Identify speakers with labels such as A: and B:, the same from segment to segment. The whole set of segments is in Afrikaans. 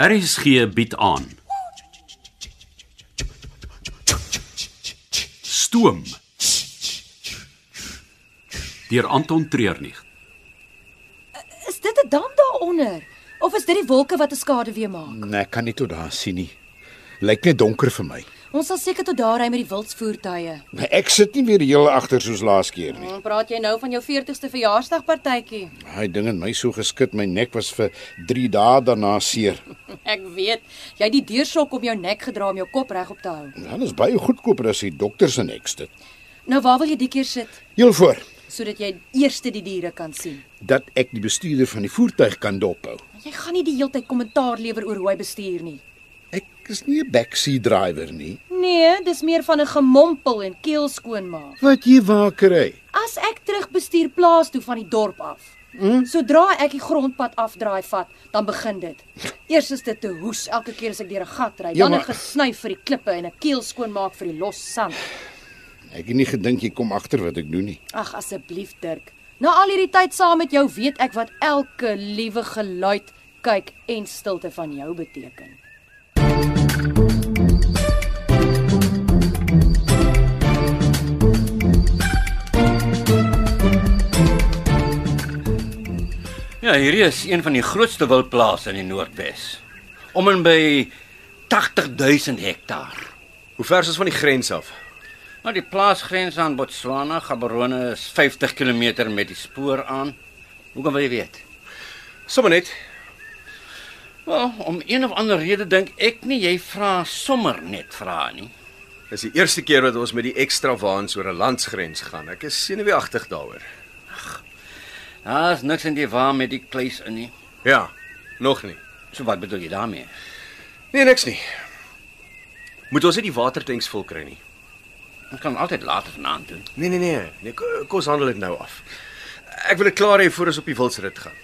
A: RSG bied aan. Stoom. Deur Anton Treurnig.
B: Is dit 'n dam daaronder of is dit die wolke wat 'n skade weer maak?
C: Nee, ek kan nie tot daar sien nie. Lyk net donker vir my.
B: Ons sal seker tot daar ry met die wildsvoertuie.
C: Maar Nee, ek sit nie weer heel agter soos laas keer nie.
B: Dan praat jy nou van jou 40ste verjaarsdagpartytjie.
C: Daai ding het my so geskit, my nek was vir 3 dae daarna seer.
B: Ek weet, jy het die deursok om jou nek gedra om jou kop regop te hou.
C: Dan is baie goedkoper as die dokters en ek dit.
B: Nou waar wil jy die keer sit
C: Heel voor
B: sodat jy eers die diere kan sien?
C: dat ek die bestuurder van die voertuig kan dophou.
B: Jy gaan nie die heeltyd kommentaar lewer oor hoe hy bestuur nie.
C: Ek is nie 'n backseat driver nie.
B: Nee, dis meer van 'n gemompel en keel skoonmaak.
C: Wat jy waar kry.
B: As ek terugbestuur plaas toe van die dorp af. Mm? Sodra ek die grondpad afdraai vat, dan begin dit. Eers is dit te hoes elke keer as ek deur 'n gat ry,
C: Ja,
B: dan 'n
C: maar-
B: gesny vir die klippe en 'n keel skoonmaak vir die los sand.
C: Ek het nie gedink jy kom agter wat ek doen nie.
B: Ag asseblief Dirk. Na al hierdie tyd saam met jou weet ek wat elke liewe geluid, kyk en stilte van jou beteken.
D: Ja, hierdie is een van die grootste wildplase in die Noordwes. Om en by 80000 hektaar.
E: Hoe ver is ons van die grens af?
D: Nou die plaasgrens aan Botswana, Gaborone is 50 km met die spoor aan. Hoe kan jy weet?
E: Sommige net.
D: Wel, om een of ander rede dink ek nie jy vra sommer net vra nie.
E: Dis die eerste keer wat ons met die ekstra waans oor 'n landsgrens gaan. Ek is senuweeagtig daaroor.
D: Daar's niks in die waar met die kluis in nie.
E: Ja, nog nie.
D: So wat bedoel jy daarmee?
E: Nee, niks nie. Moet ons net die watertanks vol kry nie.
D: Ons kan altyd later vanaand doen.
E: Nee nee nee, nee ko- kom ons handel dit nou af. Ek wil dit klaar hê voor ons op die wildsrit gaan.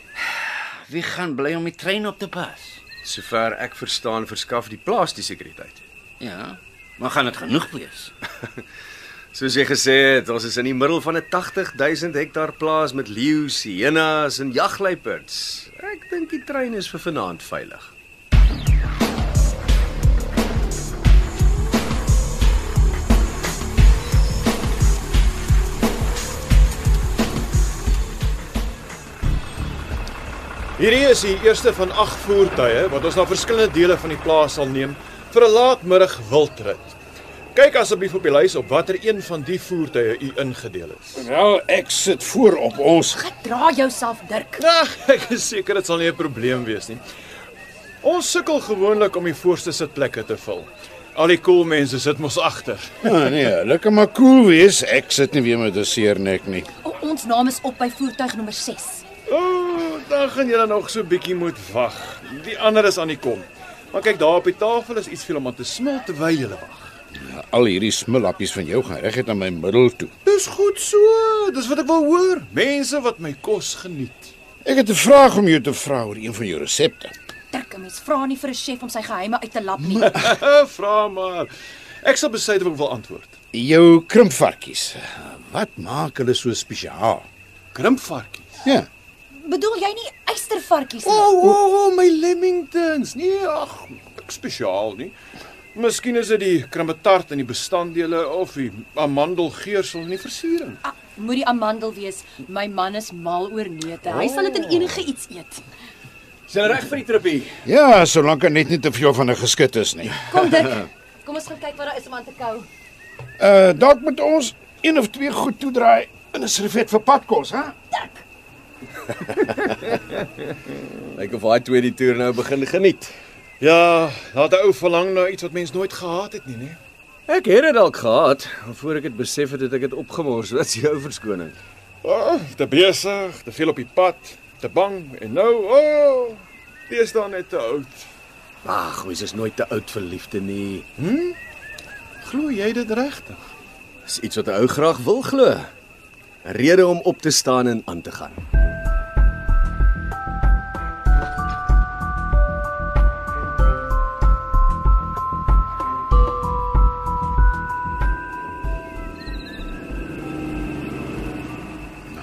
D: Wie gaan bly om die trein op te pas?
E: Sover ek verstaan, verskaf die plaas die sekuriteit.
D: Ja, maar gaan dit genoeg wees?
E: Soos jy gesê het, ons is in die middel van 'n 80000 hektaar plaas met leeu, hyenas en jagluiperds. Ek dink die trein is vir vanaand veilig.
F: Hierdie is die eerste van 8 voertuie wat ons na verskillende dele van die plaas sal neem vir 'n laatmiddag wildrit. Kyk asseblief op die lys op watter een van die voertuie u ingedeel is.
C: Wel, ek sit voor op ons.
B: Gedra jouself Dirk.
F: Ag, Ja, ek is seker dit sal nie 'n probleem wees nie. Ons sukkel gewoonlik om die voorste sitplekke te vul. Al die cool mense sit mos agter.
C: Ah, nee, lekker maar cool wees. Ek sit nie weer met 'n seer nek nie.
B: O, ons naam is op by voertuig nommer 6.
F: Ooh, dan gaan julle nog so bietjie moet wag. Die ander is aan die kom. Maar kyk daar op die tafel is iets vir hom om aan te smil terwyl julle wag.
C: Al hierdie smullappies van jou gaan reguit aan my middel toe.
F: Dis goed so. Dis wat ek wil hoor. Mense wat my kos geniet.
C: Ek het 'n vraag om jou te vra oor een van jou resepte.
B: Dirk, 'n mens vra nie vir 'n chef om sy geheime uit te lap nie.
F: Vra maar. Ek sal besluit of ek wil antwoord.
C: Jou krimpvarkies. Wat maak hulle so spesiaal?
F: Krimpvarkies.
C: Ja.
B: Bedoel jy nie eystervarkies
F: O,
B: nie?
F: oh, o, oh, oh, my lemmingtons. Nee, ag, ek spesiaal nie. Miskien is dit die krimmetart in die bestanddele of die amandelgeursel in die versiering.
B: Ah, moet die amandel wees. My man is mal oor neute. Hy sal
C: Oh.
B: dit in enige iets eet.
E: Sien reg vir die tripie.
C: Ja, solank dit net nie te veel van 'n geskit is nie.
B: Kom Dirk. Kom ons gaan kyk wat daar is om aan te kou.
C: Uh dalk moet ons een of twee goed toedraai in 'n servet vir padkos, hè?
E: Lyk of daai twee die toer nou begin geniet.
F: Ja, laat 'n ou verlang na iets wat mens nooit gehad het nie, nee. nê?
E: Ek het dit dalk gehad, maar voor ek dit besef het, het ek dit opgemors. Wat is jou verskoning?
F: Oh, te besig, te veel op die pad, te bang en nou, o, oh, dis dan net te oud.
E: Ag, mens is nooit te oud vir liefde nie.
F: Hm? Glo jy dit regtig?
E: Dis iets wat 'n ou graag wil glo. 'n Rede om op te staan en aan te gaan.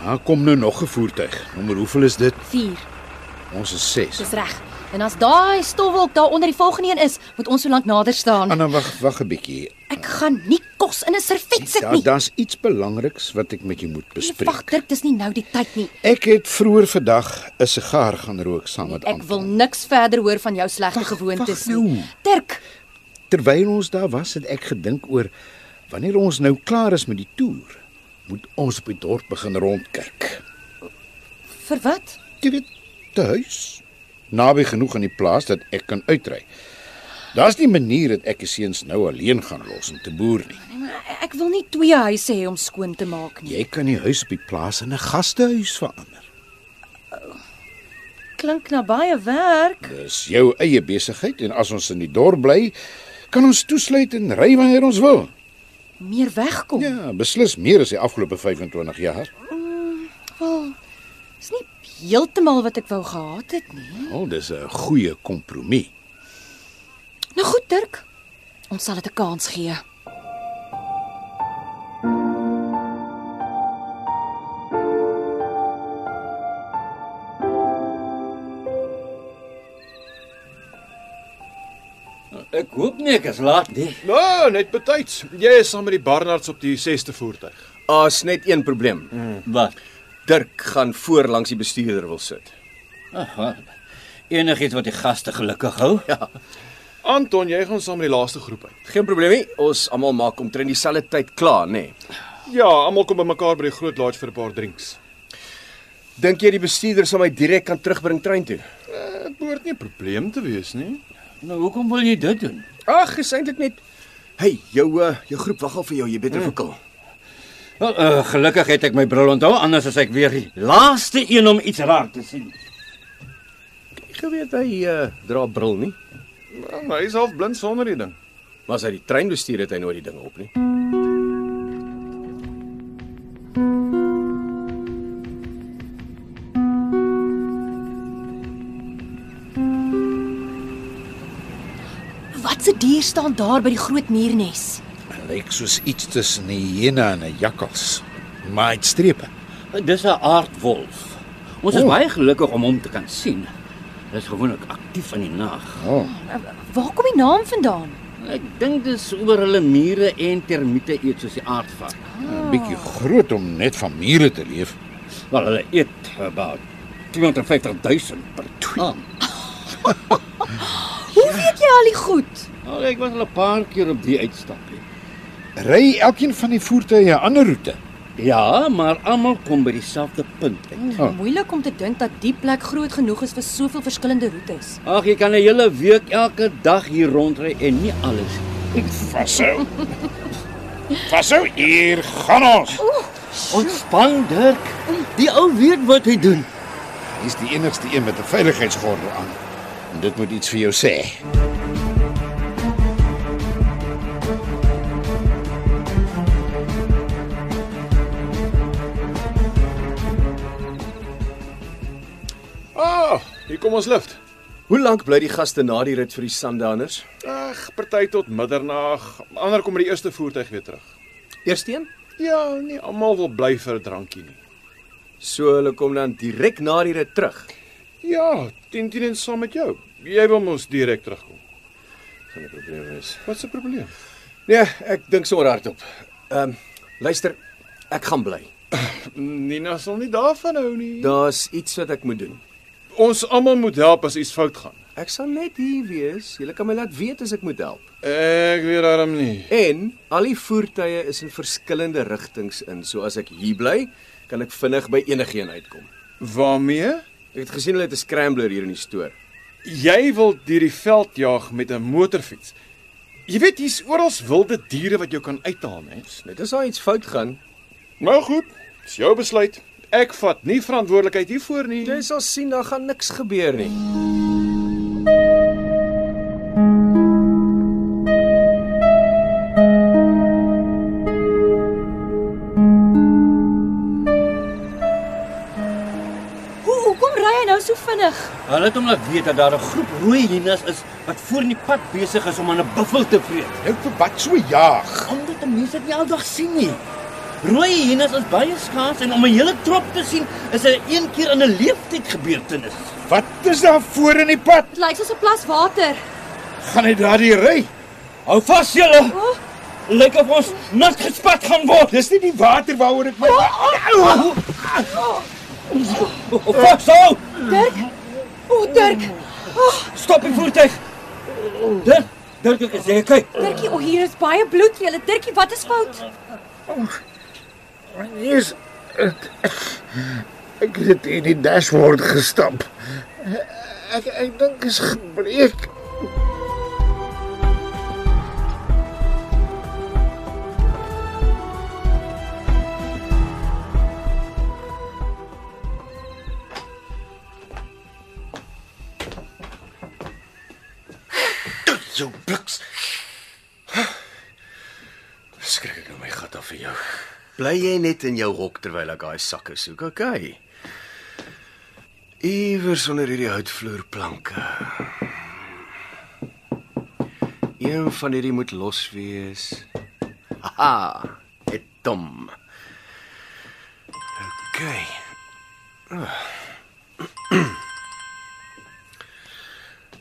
C: Nou kom nou nog 'n voertuig. Nommer hoeveel is dit?
B: 4.
C: Ons is 6.
B: Dis reg. En as daai stofwolk daar onder die volgende een is, moet ons so lank nader staan.
C: Anna, wag, wag 'n bietjie.
B: Ek gaan nie kos in 'n servet sit
C: Ja, Daar
B: nie.
C: daar's iets belangriks wat ek met jou moet
B: Wag,
C: bespreek.
B: Dirk, dis nie nou die tyd nie.
C: Ek het vroeër vandag 'n sigaar gaan rook saam met
B: Nee, Ek wil
C: Anton.
B: niks verder hoor van jou slegte
C: Wag,
B: gewoontes
C: wag nou.
B: nie. Dirk,
C: Terwyl ons daar was, het ek gedink oor wanneer ons nou klaar is met die toer, moet ons op die dorp begin rondkyk.
B: vir wat?
C: Jy weet, te huis, naby genoeg aan die plaas dat ek kan uitry. Daar's nie manier dat ek die seuns nou alleen gaan los om te boer nie.
B: Nee, maar Ek wil nie twee huise hê om skoon te maak nie.
C: Jy kan die huis op die plaas in 'n gastehuis verander.
B: Klink na baie werk.
C: Dis jou eie besigheid en as ons in die dorp bly, kan ons toesluit en ry wanneer ons wil.
B: Meer wegkom.
C: Ja, beslis meer as die afgelope 25 jaar.
B: Wel, Oh, is nie heeltemal wat ek wou gehad het nie.
C: Al dis 'n goeie kompromie.
B: Nou goed, Dirk. Ons sal dit 'n kans gee.
D: Ek hoop nie ek is laat nie.
F: Nou, net betyds. Jy is saam met die Barnards op die Hm. 6ste voertuig.
E: Daar's net een probleem.
D: Wat?
E: Dirk gaan voor langs die bestuurder wil sit.
D: Ag, wel, enigiets wat die gaste gelukkig hou.
E: Ja,
F: Anton, jy gaan saam met die laaste groep uit.
E: geen probleem nie. Ons almal maak omtrent dieselfde tyd klaar, nê. Nee.
F: Ja, almal kom bymekaar by die groot lodge vir 'n paar drinks.
E: Dink jy die bestuurder sal my direk kan terugbring trein toe?
F: Dit behoort nie 'n probleem te wees nie.
D: Nou hoekom wil jy dit doen?
E: Ag, is eintlik net Hey, jou uh, jou groep wag al vir jou, jy beter verkil.
D: Wel, uh, gelukkig het ek my bril onthou, anders as ek weer die laaste een om iets raak te sien.
E: Ek geweet hy uh, dra bril nie,
F: Wel, hy is Nou, half blind sonder die ding.
E: maar as hy die trein bestuur het hy nooit die ding op nie.
B: Wat se dier staan daar by die groot muurnes?
C: Lyk soos iets tussen 'n hyena en 'n jakkals. Maar dit strepe.
D: Eh, Dis 'n aardwolf. Ons is
C: O.
D: oh. baie gelukkig om hom te kan sien. Hy is gewoonlik aktief in die nag.
C: Oh,
B: Eh, Waar kom die naam vandaan?
D: Ek dink dis oor hulle mure en termiete eet soos die aardvark.
C: 'n bietjie groot om net van mure te leef.
D: Wel, hulle eet about 250000 per tweeling.
B: Hoe weet jy al die goed?
D: Oh. Ek was al 'n paar keer op die uitstapie.
C: Ry elkeen van die voertuie 'n ander roete.
D: Ja, maar almal kom by dieselfde punt uit.
B: Oh. Moeilik om te dink dat die plek groot genoeg is vir soveel verskillende roetes.
D: Ag, jy kan 'n hele week elke dag hier rondry en nie alles.
C: Vashou. Vashou, hier gaan ons.
D: Ontspan, Dirk. Die ou weet wat hy doen.
C: Dis die enigste een met 'n veiligheidsgordel aan. En dit moet iets vir jou sê.
F: Ah, hier kom ons lift.
E: Hoe lank bly die gaste na die rit vir die Sandaners?
F: Ag, party tot middernag. Ander kom met die eerste voertuig weer terug.
E: Eersteen?
F: Ja, nie almal wil bly vir 'n drankie nie.
E: So hulle kom dan direk na die rit terug.
F: Ja, 10 10 en saam met jou. Jy wil mos direk terugkom.
E: Geen probleem is.
F: Wat se probleem?
E: Nee, ek dink sommer hardop. Ehm um, luister, ek gaan bly.
F: Nina sal nie daarvan hou nie.
E: Daar's iets wat ek moet doen.
F: Ons almal moet help as iets fout gaan.
E: Ek sal net hier wees. Julle kan my laat weet as ek moet help.
F: Ek weet daarom nie.
E: En al die voertuie is in verskillende rigtings in. So as ek hier bly, kan ek vinnig by enigeen uitkom.
F: Waarmee?
E: Ek het gesien hulle het 'n scrambler hier in die stoor.
F: Jy wil deur die veld jaag met 'n motorfiets. Jy weet hier's oral wilde diere wat jou kan uithaal, né?
E: Net as daar iets fout gaan,
F: Nou goed, dis jou besluit. Ek vat nie verantwoordelikheid hiervoor nie.
E: jy sal sien daar gaan niks gebeur nie.
B: Hoe hoekom ry hy nou so vinnig?
D: Hulle het hom laat weet dat daar 'n groep rooi hyenas is wat voor in die pad besig is om aan 'n buffel te vreet.
C: Nou vir wat so jaag.
D: Omdat mense dit nie aldag sien nie. Rooi hyenas is baie skaars en om 'n hele trop te sien is 'n een keer in 'n leeftyd gebeurtenis.
G: Wat is daar voor in die pad?
B: Dit lyk soos 'n plas water.
G: Gaan hy daardie ry?
D: Hou vas julle.
B: Oh.
D: Lyk of ons nat gespat gaan word.
G: Dis nie die water waaroor ek my
D: Au! Oh, Vas hou.
B: Dirk. O, oh, Dirk.
D: Stop die voertuig. Dit Dirk ek sê kyk.
B: Dirkie, o, oh, hier is baie bloed, julle. Dirkie, wat is fout?
C: Yes. Ek het dit in die dashboard gestap. Ek ek dink is gebreek.
E: Jou bliks. Skrik ek nou my gat af vir jou. Bly jy net in jou hok terwyl ek daai sakke soek, okay? Iewers onder hierdie houtvloerplanke. Een van hierdie moet los wees. Haha, dit dom. Okay.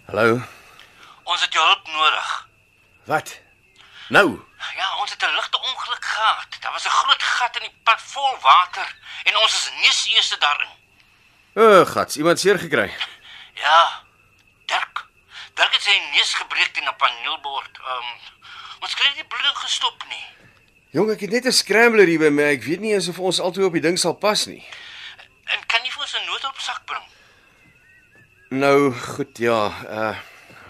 E: Hallo.
D: Ons het jou hulp nodig.
E: Wat? Nou.
D: Ja, ons het 'n ligte ongeluk gehad. Daar was 'n groot gat in die pad vol water en ons is neus eerste daarin.
E: O, oh, gats, iemand seer gekry.
D: Ja. Dirk. Dirk het sy neus gebreek teen 'n paneelbord. Ehm um, ons kry nie die bloeding gestop nie.
E: Jong, ek het net 'n scrambler hier by my. Ek weet nie eens of ons altyd op die ding sal pas nie.
D: En kan jy vir ons 'n noodopsak bring?
E: Nou, goed, ja. Uh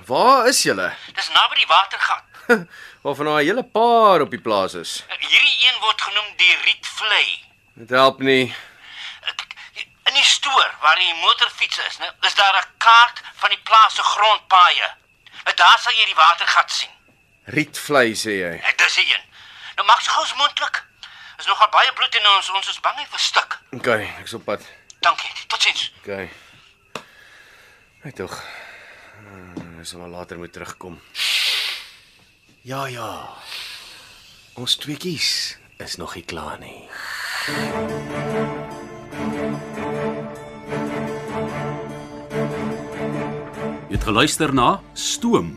E: waar is julle?
D: Dis naby die watergat.
E: Waarvan daar 'n hele paar op die plaas is.
D: Hierdie een word genoem die Rietvlei.
E: Dit help nie.
D: In die stoor waar die motorfiets is, né, is daar 'n kaart van die plaas se grondpaaie. En daar sal jy die watergat sien.
E: Rietvlei sê jy.
D: En dis die een. Nou maak se gous moontlik. Is nogal baie bloed in ons, ons is bang hy verstik.
E: OK, ek's op pad.
D: Dankie. Totsiens.
E: OK. Hy tog. Eh, Ons sal maar later moet terugkom. Ja, ja. Ons tweeetjies is nog nie klaar nie.
A: Jy het geluister na Stoom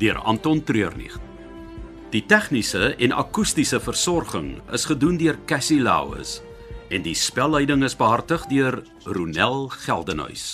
A: deur Anton Treurnig. Die tegniese en akoestiese versorging is gedoen deur Cassie Lauis en die spelleiding is behartig deur Ronel Geldenhuys.